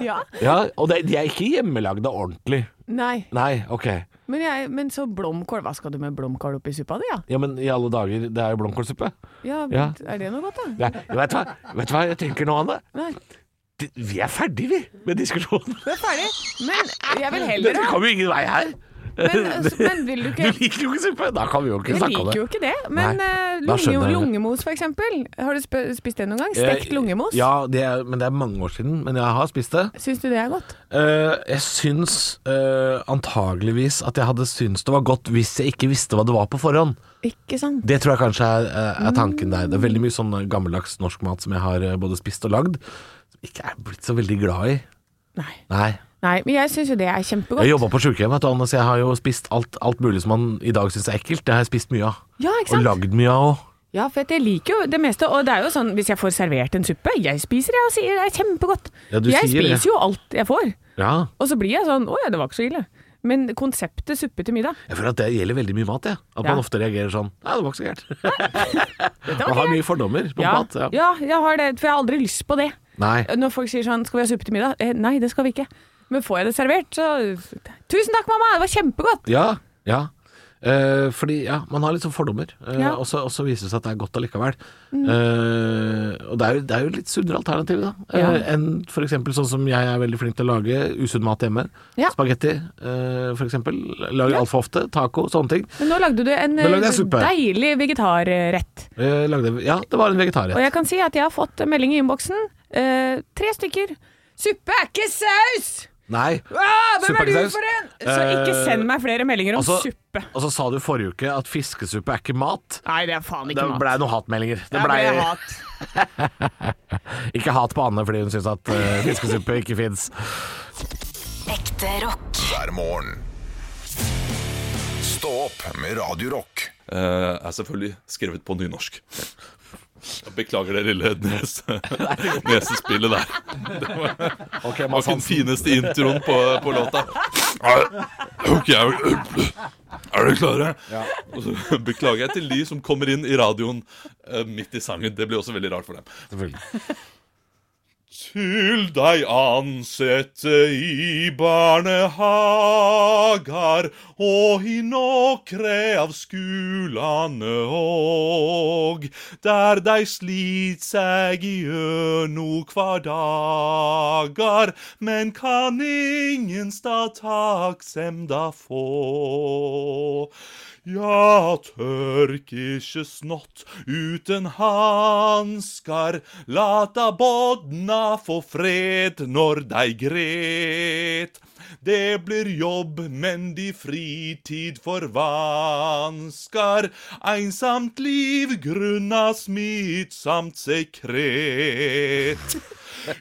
D: ja.
C: Ja, Og det, de er ikke hjemmelagde ordentlig.
D: Nei.
C: Nei, ok.
D: Men, jeg, men så blomkål. Hva skal du med blomkål oppi suppa di, ja?
C: Ja, men i alle dager, det er jo blomkålsuppe.
D: Ja,
C: Ja.
D: Er det noe godt, da?
C: Nei, vet du hva? Vet du hva jeg tenker nå, Anne?
D: Nei.
C: Det- Vi er ferdige, vi, med diskusjonen.
D: Vi er ferdig. Men jeg vil heller
C: Dette
D: ha
C: kommer jo ingen vei her.
D: men, altså, men vil du
C: Du
D: ikke
C: liker jo ikke suppe! Da kan vi jo ikke
D: Jeg
C: snakke om
D: liker
C: det.
D: jo ikke det, men
C: Nei,
D: eh,
C: da skjønner
D: lunge,
C: jeg det.
D: lungemos for eksempel. Har du sp spist det noen gang? Stekt lungemos?
C: Ja, det er, men det er mange år siden. Men jeg har spist det.
D: Syns du det er godt?
C: Eh, jeg syns eh, antageligvis at jeg hadde syntes det var godt hvis jeg ikke visste hva det var på forhånd.
D: Ikke sant?
C: Det tror jeg kanskje er, eh, er tanken der. Det er veldig mye sånn gammeldags norsk mat som jeg har eh, både spist og lagd, som ikke er blitt så veldig glad i.
D: Nei.
C: Nei.
D: Nei, men jeg syns jo det er kjempegodt.
C: Jeg jobba på sjukehjem, vet du, Anne, så jeg har jo spist alt, alt mulig som man i dag syns er ekkelt. Det har jeg spist mye av.
D: Ja, ikke
C: Og
D: sant?
C: lagd mye av òg.
D: Ja, for at jeg liker jo det meste. Og det er jo sånn, hvis jeg får servert en suppe, jeg spiser det og sier det er kjempegodt.
C: Ja, du
D: jeg
C: sier det.
D: spiser jo alt jeg får.
C: Ja.
D: Og så blir jeg sånn å ja, det var ikke så ille. Men konseptet suppe til middag
C: Jeg føler at det gjelder veldig mye mat, jeg. At
D: Ja.
C: man ofte reagerer sånn Nei, det var ikke så gærent.
D: det var
C: Man har
D: ikke
C: mye fordommer på
D: ja,
C: mat. Ja.
D: ja, jeg har det, for jeg har aldri lyst på det.
C: Nei.
D: Når folk sier sånn 'skal vi ha suppe til middag'? Eh, nei, det skal vi ikke. Men får jeg det servert, så 'tusen takk, mamma, det var kjempegodt'.
C: Ja. ja. Eh, fordi ja, man har litt sånn fordommer, eh,
D: Ja. Mm.
C: og, så, og så viser det seg at det er godt allikevel. Eh, og det er, jo, det er jo litt sunnere alternativ, da. Eh,
D: Ja.
C: enn for eksempel sånn som jeg er veldig flink til å lage usunn mat hjemme.
D: Ja.
C: Spagetti, eh, for eksempel. Lager altfor ofte. Taco, sånne ting.
D: Men nå lagde du en
C: Nå lagde jeg
D: eh,
C: suppe.
D: deilig vegetarrett.
C: Eh, lagde, ja, det var en vegetarrett.
D: Og jeg kan si at jeg har fått melding i innboksen. Eh, tre stykker. Suppe er ikke saus!
C: Nei.
D: Ah, hvem
C: Suppe er
D: er du
C: ikke saus.
D: for en? Så ikke
C: Eh,
D: send meg flere meldinger om
C: altså-
D: suppe.
C: Og så sa du forrige uke at fiskesuppe er ikke mat.
D: Nei, det er faen ikke
C: Det
D: mat.
C: blei noen hatmeldinger. Det
D: Der ble
C: blei-
D: jeg hat.
C: Ikke hat på Anne fordi hun syns at eh, fiskesuppe ikke fins.
A: Ekte rock.
B: hver morgen. Stå opp med Radio Rock.
H: Eh, er selvfølgelig skrevet på nynorsk. Jeg beklager det lille nes, nesespillet der.
C: Okay,
H: Det var ikke den fineste introen på, på låta. Ok, er, er dere klare? Og så beklager jeg til de som kommer inn i radioen eh, midt i sangen. Det blir også veldig rart for dem. Til deg ansette i barnehagar og i nokre av skulane òg, der dei slit seg igjennom kvar dagar, men kan ingenstad takksemda få. Ja, tørk ikke snott uten hanskar, lata bodna få fred når dei gret. Det blir jobb, men de fritid forvanskar, einsamt liv grunna smittsamt sekret.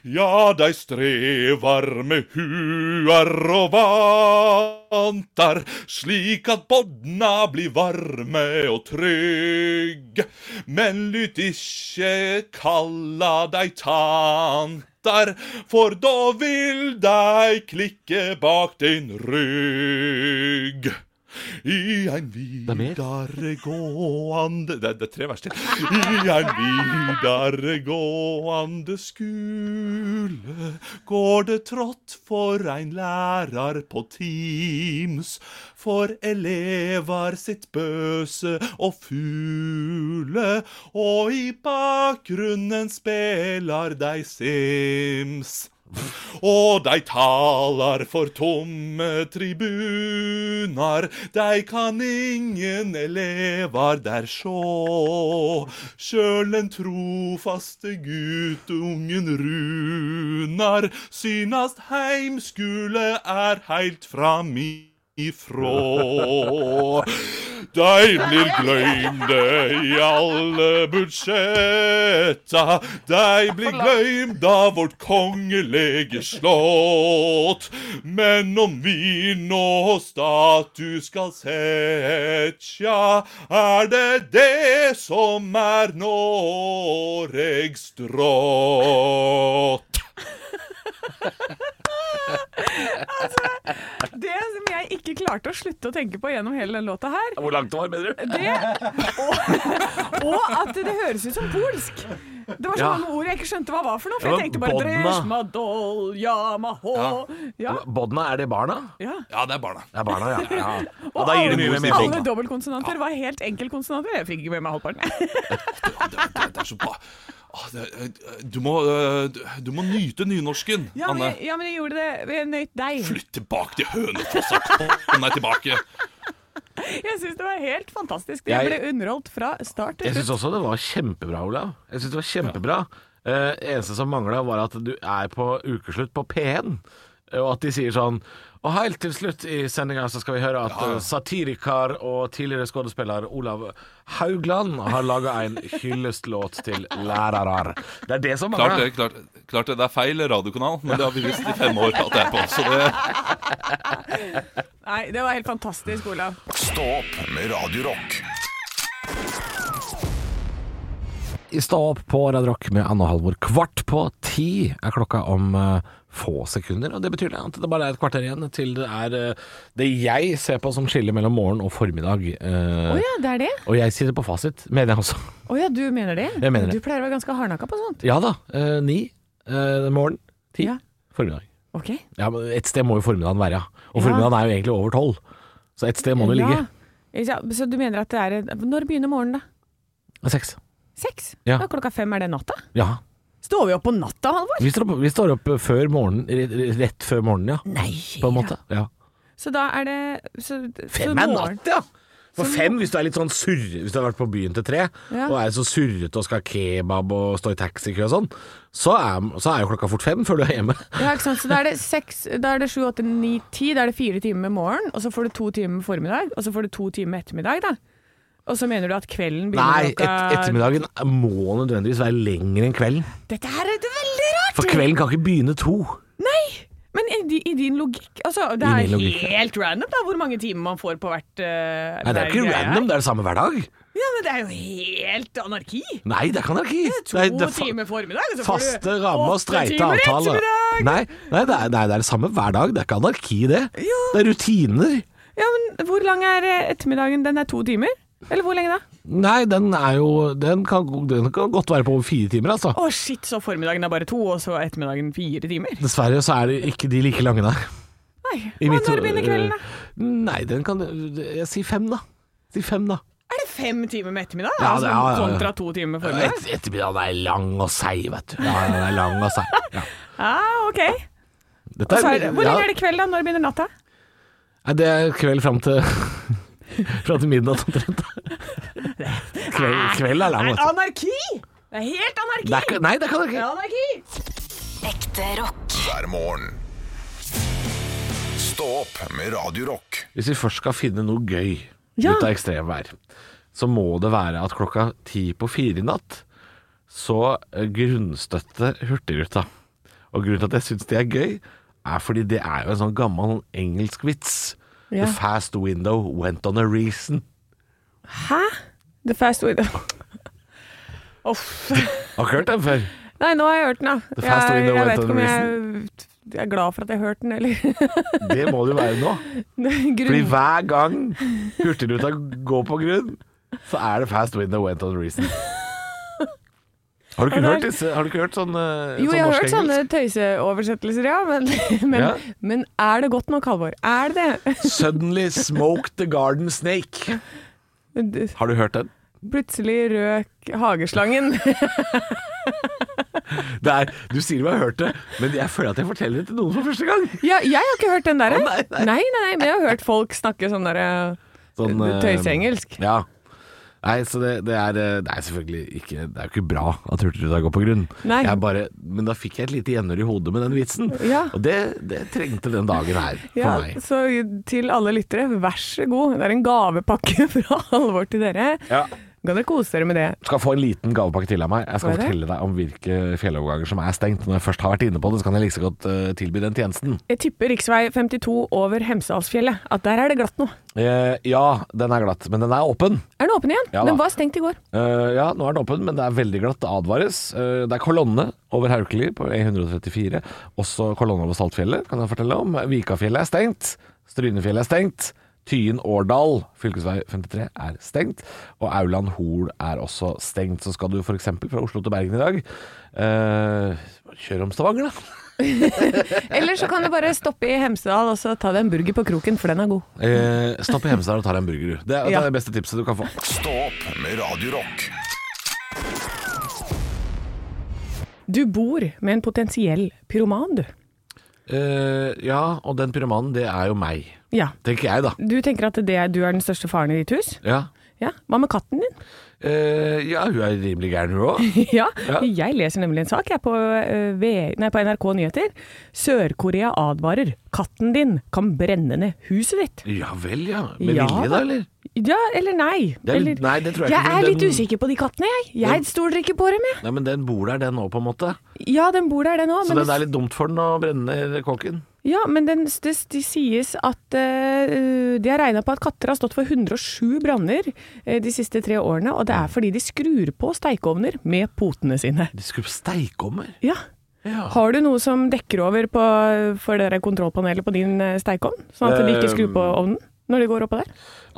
H: Ja, de strevar med huar og vantar, slik at bodna blir varme og trygge. Men lytt ikke kalla dei tantar, for da vil dei klikke bak din rygg. I ein videregående det, er- det er tre vers til. I ein videregående skule går det trått for ein lærar på Teams. For elevar sitt bøse og fugle, og i bakgrunnen spiller dei Sims. Og dei talar for tomme tribunar, dei kan ingen elevar der sjå. Sjøl den trofaste gutungen Runar synast heimskule er heilt fram ifrå. Dei blir gløymde i alle budsjetta. Dei blir gløymde av vårt kongelege slott. Men om vi nå status skal setja, er det det som er Noregs drott.
D: Det som jeg ikke klarte å slutte å tenke på gjennom hele den låta her,
C: Hvor langt det var, mener du?
D: det og, og at det høres ut som polsk. Det var så
C: Ja.
D: mange ord jeg ikke skjønte hva var for noe. For
C: Ja,
D: jeg tenkte bare
C: bodna.
D: Dresjmadol, Yamaho Ja.
C: Bodna, er det barna?
D: ja.
H: Ja, det er barna.
C: Det er barna, ja. ja.
D: Og
C: da gir det
D: alle,
C: mye mer mening.
D: alle dobbeltkonsonanter var helt enkeltkonsonanter. Jeg fikk ikke med meg halvparten.
H: det, det, det er så bra. Åh, det, eh, du, må, eh, du, du må nyte nynorsken,
D: Ja, men,
H: Anne.
D: jeg- ja, men jeg gjorde det. Jeg nøyt deg.
H: Flytt tilbake til Hønefoss og kom deg tilbake.
D: Jeg syns det var helt fantastisk. Jeg
C: Jeg-
D: ble underholdt fra start til
C: Jeg
D: slutt.
C: syns også det var kjempebra, Olav. Jeg synes det var kjempebra. Eh, eneste som mangla, var at du er på ukeslutt på P1, eh, og at de sier sånn Og helt til slutt i sendinga så skal vi høre at eh, satirikar og tidligere skuespiller Olav Haugland har laga en hyllestlåt til lærarar. Det er det som
H: Klart det,
C: mangler.
H: klart, klart det. Det er feil radiokanal, men det har vi visst i fem år at det er på. Så det,
D: Nei, det var helt fantastisk, Olav.
B: Stå opp med Radio Rock.
C: I Stå opp på Radio Rock med Anne og Halvor. Kvart på ti er klokka om eh, få sekunder. Og Det betyr det at det bare er et kvarter igjen til det er eh, det jeg ser på som skille mellom morgen og formiddag. eh,
D: Å ja, det er det?
C: Og jeg sier det på fasit, mener jeg også.
D: Å ja, du mener det?
C: Jeg mener det.
D: Du pleier å være ganske hardnakka på sånt.
C: Ja da. eh, Ni eh, morgen, ti
D: Ja.
C: formiddag.
D: Ok.
C: Ja, men Et sted må jo formiddagen være, ja. Og
D: Ja.
C: formiddagen er jo egentlig over tolv. Så et sted må det ligge.
D: Ja, så du mener at det er Når begynner morgenen, da?
C: Seks.
D: Seks?
C: Ja.
D: Da klokka fem er det natta?
C: Ja.
D: Står vi opp på natta, Halvor?
C: Vi står opp, vi står opp før morgenen, rett- rett før morgenen, ja.
D: Nei.
C: På en måte. Ja.
D: Så da er det så, så
C: Fem er
D: morgen-
C: natt, ja! For
D: Så
C: fem, hvis du er litt sånn surre Hvis du har vært på byen til tre,
D: Ja.
C: og er så surrete og skal ha kebab og stå i taxikø og sånn, så er, så er jo klokka fort fem før du er hjemme.
D: Ja, ikke sant? Så da er det seks, da er det sju, åtte, ni, ti. Da er det fire timer med morgen, og så får du to timer med formiddag, og så får du to timer med ettermiddag, da. Og så mener du at kvelden begynner
C: Nei, et,
D: klokka
C: ettermiddagen må nødvendigvis være lenger enn kvelden.
D: Dette her er jo veldig rart!
C: For kvelden kan ikke begynne to.
D: Nei! Men i, di- i din logikk Altså, det
C: I
D: er
C: min logikk, ja.
D: helt random, da, hvor mange timer man får på hvert eh,
C: Nei, det er jo ikke
D: hver greie.
C: random, det er det samme hver dag.
D: Ja, men det er jo helt anarki!
C: Nei, det kan dere ikke.
D: To
C: Nei, det er fa-
D: timer formiddag, og så får du
C: Faste rammer og
D: åtte
C: streite
D: timer
C: avtaler.
D: ettermiddag.
C: Nei, nei, det er, nei, det er det samme hver dag. Det er ikke anarki, det.
D: Jo.
C: Det er rutiner.
D: Ja, men hvor lang er eh, ettermiddagen? Den er to timer? Eller hvor lenge da?
C: Nei, den er jo Den kan, den kan godt være på over fire timer, altså.
D: Å shit, så formiddagen er bare to, og så ettermiddagen fire timer?
C: Dessverre så er det ikke de like lange, nei.
D: Nei.
C: I
D: Og
C: mitt- eh,
D: når begynner kvelden, da?
C: Nei, den kan Jeg sier fem, da. Si fem, da.
D: Er det fem timer med ettermiddag?
C: Ja,
D: altså,
C: det- ja, ja, ja.
D: Kontra to timer formiddag?
C: Et, ettermiddagen er lang og seig, vet du. Ja, den er lang og seig. Ja.
D: Ja, ok.
C: Dette
D: Så er det, hvor
C: ja.
D: lenge er det kveld, da? Når begynner natta?
C: Nei, det er kveld fram til Fram til midnatt omtrent. Kveld, kveld er lang, vet du.
D: Anarki! Det er helt anarki!
C: Det er ikke- nei, det kan du
D: Det
C: ikke.
D: er anarki!
A: Ekte rock.
B: hver morgen. Stå opp med Radio Rock.
C: Hvis vi først skal finne noe gøy
D: Ja.
C: ut av ekstremvær, så må det være at klokka ti på fire i natt så eh, grunnstøtte Hurtigruta. Og grunnen til at jeg syns det er gøy, er fordi det er jo en sånn gammel engelsk vits.
D: Ja.
C: The fast window went on a reason.
D: Hæ? The fast window. Uff.
C: Har ikke hørt den før.
D: Nei, nå har jeg hørt den, da.
C: fast
D: Jeg,
C: window
D: jeg
C: went
D: vet
C: on
D: ikke om
C: reason.
D: jeg jeg er glad for at jeg hørte den, eller
C: Det må det jo være nå. Fordi
D: grunn...
C: hver gang Hurtigruta går på grunn, så er det fast window went on reason. Har du ikke,
D: Og det er-
C: hørt, disse, har du ikke hørt sånn, eh,
D: Jo,
C: sånn
D: jeg har hørt sånne
C: norsk-engelsk?
D: tøyseoversettelser, ja, men, men,
C: Ja.
D: men er det godt nok, Halvor? Er det det?
C: Suddenly smoked the garden snake.
D: Du-
C: Har du hørt den?
D: Plutselig røk hageslangen.
C: Det er, du sier du har hørt det, men jeg føler at jeg forteller det til noen for første gang.
D: Ja, jeg har ikke hørt den der.
C: Å, nei, nei.
D: nei, nei, men jeg har hørt folk snakke sånn der
C: Sånn, eh,
D: tøyseengelsk.
C: Ja. Nei, så det, det, er, eh, det er selvfølgelig ikke Det er jo ikke bra at Hurtigruta går på grunn.
D: Nei.
C: Jeg bare, men da fikk jeg et lite gjenhør i hodet med den vitsen.
D: Ja.
C: Og det, det trengte den dagen her for
D: Ja,
C: meg.
D: så til alle lyttere, vær så god. Det er en gavepakke fra Halvor til dere.
C: Ja.
D: Kan dere kose dere med det?
C: Du skal få en liten gavepakke til av meg. Jeg skal
D: Hva er det?
C: fortelle deg om hvilke fjelloverganger som er stengt. Når jeg først har vært inne på det, så kan jeg like så godt eh, tilby den tjenesten.
D: Jeg tipper rv. 52 over Hemsedalsfjellet, at der er det glatt nå.
C: Eh, ja, den er glatt, men den er åpen.
D: Er den åpen igjen?
C: Ja da.
D: den var stengt i går.
C: Eh, ja, nå er den åpen, men det er veldig glatt. Det advares. Eh, det er kolonne over Haukeli på E134. Også kolonne over Saltfjellet, kan jeg fortelle om. Vikafjellet er stengt. Strynefjellet er stengt. Tyen-Årdal, fylkesvei 53, er stengt. Og Auland-Hol er også stengt. Så skal du f.eks. fra Oslo til Bergen i dag, eh, kjør om Stavanger, da.
D: Eller så kan du bare stoppe i Hemsedal og så ta deg en burger på kroken, for den er god.
C: Eh, stopp i Hemsedal og ta deg en burger, du. Det er det,
D: Ja.
C: er det beste tipset du kan få.
B: Stå opp med Radio Rock.
D: Du bor med en potensiell pyroman, du.
C: Eh, ja, og den pyromanen, det er jo meg.
D: Ja.
C: Tenker jeg, da.
D: Du tenker at det er, du er den største faren i ditt hus?
C: Ja,
D: Ja. Hva med katten din?
C: eh, ja hun er rimelig gæren, hun òg.
D: ja.
C: Ja.
D: Jeg leser nemlig en sak jeg på, eh, V- nei, på NRK Nyheter. Sør-Korea advarer. Katten din kan brenne ned huset ditt.
C: Ja vel, ja. Med
D: Ja,
C: vilje,
D: da.
C: da, eller?
D: Ja, eller nei.
C: Det er litt-
D: eller,
C: nei, det tror jeg
D: jeg
C: ikke, for
D: er litt
C: den-
D: usikker på de kattene, jeg. Jeg stoler ikke på dem, jeg.
C: Nei, men den bor der, den òg, på en måte.
D: Ja, den bor der, den òg.
C: Så det er litt dumt for den å brenne ned kåken.
D: Ja, men den, det, de sies at eh, de har regna på at katter har stått for 107 branner eh, de siste tre årene, og det er fordi de skrur på steikeovner med potene sine.
C: De skulle steikommer.
D: Ja. Har du noe som dekker over på, for dere kontrollpanelet på din eh, steikeovn, sånn at de ikke skrur på ovnen når de går oppå der?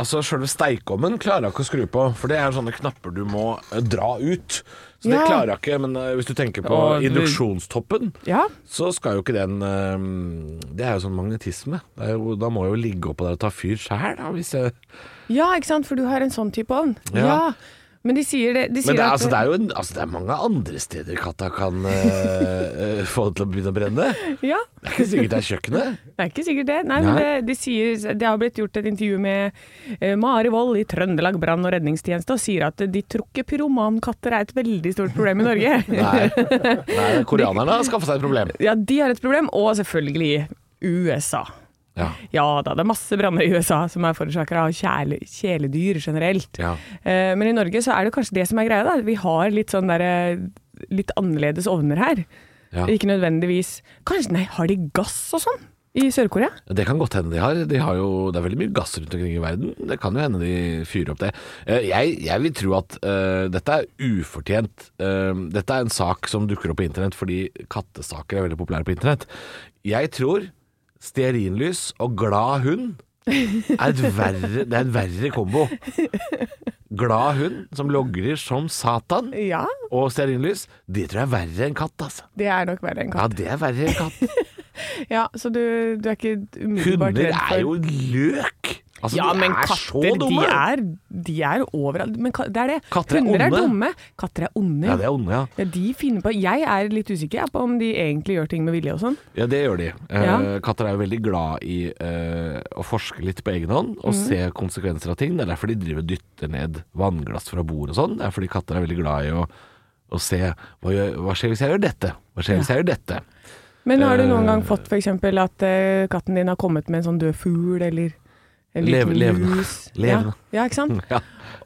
C: Altså, Sjølve steikommen klarer jeg ikke å skru på, for det er sånne knapper du må eh, dra ut. Så det
D: Ja.
C: klarer jeg ikke, men eh, hvis du tenker på
D: Og du-
C: induksjonstoppen,
D: Ja.
C: så skal jo ikke den eh, Det er jo sånn magnetisme. Det er jo, da må jeg jo ligge oppå der og ta fyr sjæl, da. Hvis jeg,
D: ja, ikke sant, for du har en sånn type ovn.
C: Ja.
D: Men de sier det, de sier
C: men det er,
D: at
C: altså, det er jo en, altså, det er mange andre steder katta kan eh, eh, få det til å begynne å brenne. Det
D: Ja,
C: er ikke sikkert det er kjøkkenet.
D: Det er ikke sikkert det. Nei, men det,
C: Nei.
D: de sier, det har blitt gjort et intervju med eh, Mari Wold i Trøndelag brann- og redningstjeneste, og sier at de tror ikke pyromankatter er et veldig stort problem i Norge.
C: Nei, Nei koreanerne har skaffa seg et problem.
D: ja, de har et problem, og selvfølgelig USA.
C: Ja.
D: Ja da, det er masse branner i USA som er forårsaka av kjæle, kjæledyr generelt.
C: Ja.
D: Eh, men i Norge så er det kanskje det som er greia, da. Vi har litt sånn derre litt annerledes ovner her.
C: Ja.
D: Ikke nødvendigvis Kanskje, nei, har de gass og sånn i Sør-Korea?
C: Det kan godt hende de har. De har jo, det er veldig mye gass rundt omkring i verden. Det kan jo hende de fyrer opp det. Eh, Jeg, jeg vil tro at eh, dette er ufortjent. Eh, dette er en sak som dukker opp på internett fordi kattesaker er veldig populære på internett. Jeg tror stearinlys og glad hund er et verre, det er en verre kombo. Glad hund som logrer som satan,
D: Ja,
C: og stearinlys, det tror jeg er verre enn katt, altså.
D: det er nok verre enn katt.
C: Ja, det er verre enn katt.
D: Ja, så du, du er ikke umiddelbart
C: Hunder
D: redd for
C: er jo løk! Altså,
D: ja,
C: de
D: men
C: er så
D: katter,
C: dumme!
D: de er, de er overalt. Men ka- det er det.
C: Katter er
D: Hunder er
C: onde.
D: dumme. Katter er onde.
C: Ja, de er onde, ja.
D: Ja, de finner på Jeg er litt usikker jeg, på om de egentlig gjør ting med vilje og sånn.
C: Ja, det gjør de. Eh,
D: Ja.
C: Katter er jo veldig glad i eh, å forske litt på egen hånd
D: Mhm.
C: og se konsekvenser av ting. Det er derfor de driver og dytter ned vannglass fra bord og sånn. Det er fordi katter er veldig glad i å, å se hva, gjør, hva skjer hvis jeg gjør dette? Hva skjer hvis jeg gjør dette?
D: Men har du noen
C: Eh.
D: gang fått f.eks. at eh, katten din har kommet med en sånn død fugl, eller en
C: Leve-
D: liten
C: levende.
D: lus?
C: Levende.
D: Ja, ja ikke sant?
C: Mm, Ja.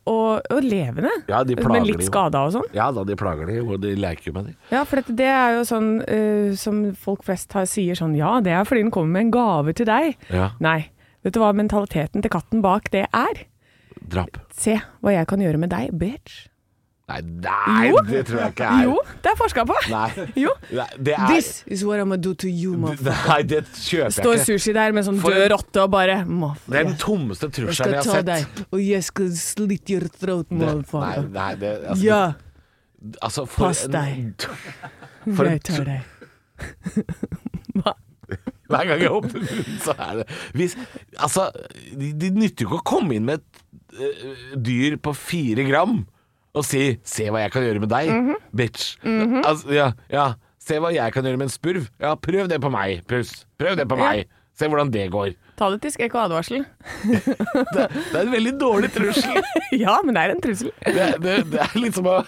D: Og, og levende.
C: Ja, de plager
D: men litt
C: de jo.
D: skada og sånn.
C: ja da, de plager de, og de leker jo med de.
D: Ja, for dette, det er jo sånn eh, som folk flest har, sier sånn Ja, det er fordi den kommer med en gave til deg.
C: Ja.
D: Nei. Vet du hva mentaliteten til katten bak det er?
C: Drap.
D: Se hva jeg kan gjøre med deg, bitch.
C: Nei, nei
D: Jo.
C: det tror jeg ikke er
D: Jo, det er forska på.
C: Nei.
D: Jo.
C: Nei, det er
D: This is what I'm gonna do to you, motherfucker.
C: Nei, det kjøper jeg
D: Står
C: ikke.
D: sushi der med sånn død rotte og bare Motherfucker.
C: Det er den tommeste
D: Jeg
C: trusselen
D: skal
C: jeg
D: ta
C: har sett.
D: deg, og jeg skal slit your throat,
C: Det, nei,
D: motherfucker.
C: nei, det, altså,
D: Ja,
C: altså, for
D: Pass
C: en-
D: deg.
C: for en
D: jeg tar deg. Hva?
C: Hver gang jeg åpner munnen, så er det Hvis, Altså, de, de nytter jo ikke å komme inn med et eh, dyr på fire gram og si 'se hva jeg kan gjøre med deg', bitch. altså, ja, ja. Se hva jeg kan gjøre med en spurv. Ja, prøv det på meg, pus. Prøv det på
D: Ja.
C: meg. Se hvordan det går.
D: Ta det til skrekk og advarsel.
C: Det, det er en veldig dårlig trussel.
D: Ja, men det er en trussel.
C: Det, det, det er litt som å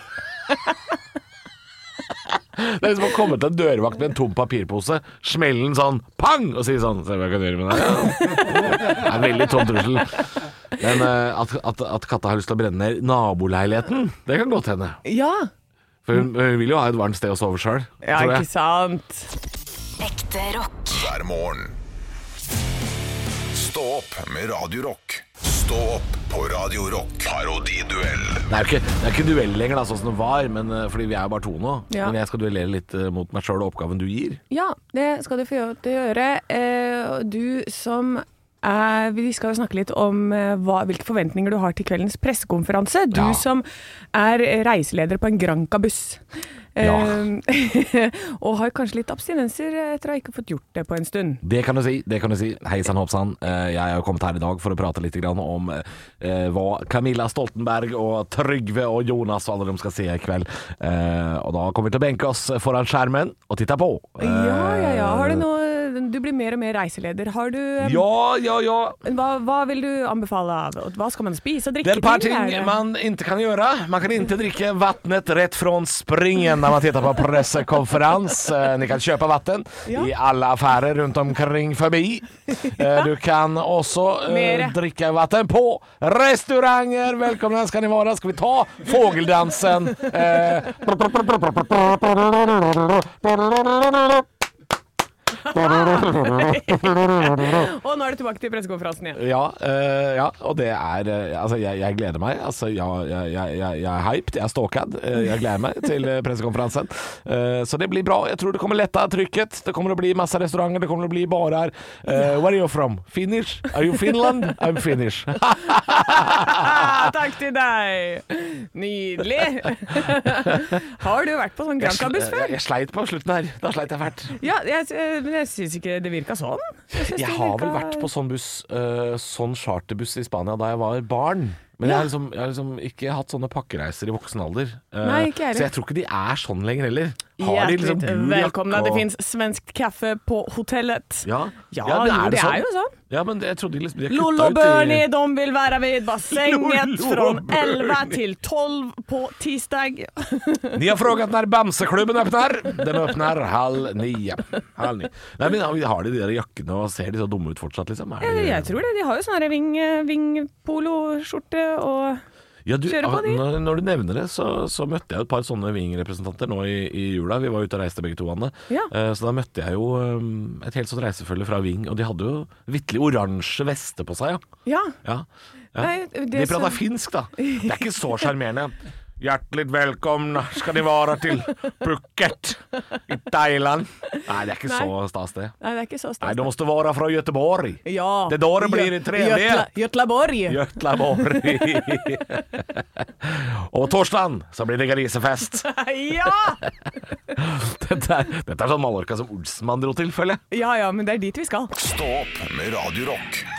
C: Det er som å komme til en dørvakt med en tom papirpose, smelle den sånn pang, og si sånn Se hva jeg kan gjøre med deg. Det er en veldig tom trussel. Men eh, at, at, at katta har lyst til å brenne ned naboleiligheten, det kan godt hende.
D: Ja.
C: For hun, hun vil jo ha et varmt sted å sove sjøl,
D: Ja,
C: tror
D: ikke
C: jeg.
D: sant.
A: Ekte rock.
B: hver morgen. Stå opp med Radio Rock. Stå opp på Radio Rock. Parodiduell
C: Det er jo ikke, det er ikke duell lenger, da, sånn som det var, men, eh, fordi vi er jo bare to nå.
D: Ja.
C: Men jeg skal duellere litt eh, mot meg sjøl og oppgaven du gir.
D: Ja, det skal du få gjø- til å gjøre. Eh, og Du som er, vi skal jo snakke litt om eh, hva, hvilke forventninger du har til kveldens pressekonferanse. Du
C: Ja.
D: som er reiseleder på en Granca-buss. Eh, og har kanskje litt abstinenser etter å ha ikke fått gjort det på en stund.
C: Det kan du si. det kan du si Hei sann, hopp sann. Eh, Jeg er jo kommet her i dag for å prate litt grann om eh, hva Camilla Stoltenberg og Trygve og Jonas og alle de skal se i kveld. Eh, Og da kommer vi til å benke oss foran skjermen og titte på. Eh,
D: Ja, ja, ja. Har du noe Du blir mer og mer reiseleder. Har du eh,
C: Ja, ja, ja.
D: hva, hva vil du anbefale av og Hva skal man spise og
C: Det er
D: drikke?
C: et par
D: til,
C: ting
D: er det?
C: man ikke kan gjøre. Man kan ikke drikke vannet rett fra springen når man ser på pressekonferanse. Dere kan kjøpe vann
D: Ja.
C: i alle affærer rundt omkring forbi. Eh, Du kan også eh,
D: Mere.
C: drikke vann på restauranter. Velkommen skal dere være. Skal vi ta fågeldansen? Eh,
D: Og nå er du tilbake til pressekonferansen igjen.
C: Ja, eh, ja, og det er eh, Altså, jeg, jeg gleder meg. Altså, ja, jeg, jeg, jeg, jeg er hyped, jeg er stalkad. Eh, jeg gleder meg til eh, pressekonferansen. Eh, så det blir bra. Jeg tror det kommer letta trykket. Det kommer å bli masse restauranter, det kommer å bli barer. Eh, where are you from? Finnish? Are you Finland? I'm Finnish.
D: Ah, takk til deg! Nydelig! Har du vært på sånn Granca-buss
C: jeg,
D: før?
C: jeg sleit på slutten her. Da sleit jeg fælt.
D: Ja, jeg, eh, men jeg syns ikke det virka sånn. synes
C: Jeg
D: det
C: har vel
D: virka-
C: vært på sånn buss, eh, sånn charterbuss i Spania da jeg var barn. Men jeg har,
D: Ja.
C: liksom, jeg har liksom ikke hatt sånne pakkereiser i voksen alder. Eh,
D: Nei, ikke jeg
C: så jeg tror ikke de er sånn lenger heller. de
D: Hjertelig
C: liksom gul jakke
D: Velkommen. Det
C: og-
D: fins svensk kaffe på hotellet.
C: Ja,
D: Ja,
C: men
D: jo, det er jo sånn.
C: Ja, men det- jeg trodde de liksom de har
D: Lollo
C: kutta ut
D: Bernie,
C: i
D: de vil være ved bassenget
C: Lollo
D: fra
C: Bernie.
D: 11 til 12 på tirsdag.
C: Ni har frågat når Bamseklubben åpner. Den åpner halv ni. Halv ni. Nei, men har- har de de der jakkene og ser de så dumme ut fortsatt, liksom? Er
D: Ja,
C: de-
D: Jeg tror det. De har jo sånne ving, vingpoloskjorte og
C: Ja, du, ah,
D: Kjøre på de.
C: Når, når du nevner det, så, så møtte jeg et par sånne Ving-representanter nå i, i jula. Vi var ute og reiste begge to, Anne.
D: Ja.
C: Eh, så da møtte jeg jo eh, et helt sånt reisefølge fra Ving, og de hadde jo vitterlig oransje veste på seg. Ja. ja.
D: Ja.
C: ja.
D: Nei, det
C: de prata
D: som-
C: finsk, da. Det er ikke så sjarmerende. Hjertelig velkommen skal de være til Phuket i Thailand. Nei, det er ikke
D: Nei.
C: så stas, det.
D: Nei, det er ikke så
C: Nei,
D: stas.
C: de måste være fra Göteborg.
D: Ja.
C: Det då det blir
D: Gö-
C: trevlig.
D: Götla- Götlaborg.
C: Gjøtlaborg. og torsdag så blir det grisefest.
D: Ja!
C: Dette er, dette er sånn Mallorca som Olsenmann dro til, føler jeg.
D: ja ja, men det er dit vi skal.
B: Stå opp med Radio Rock.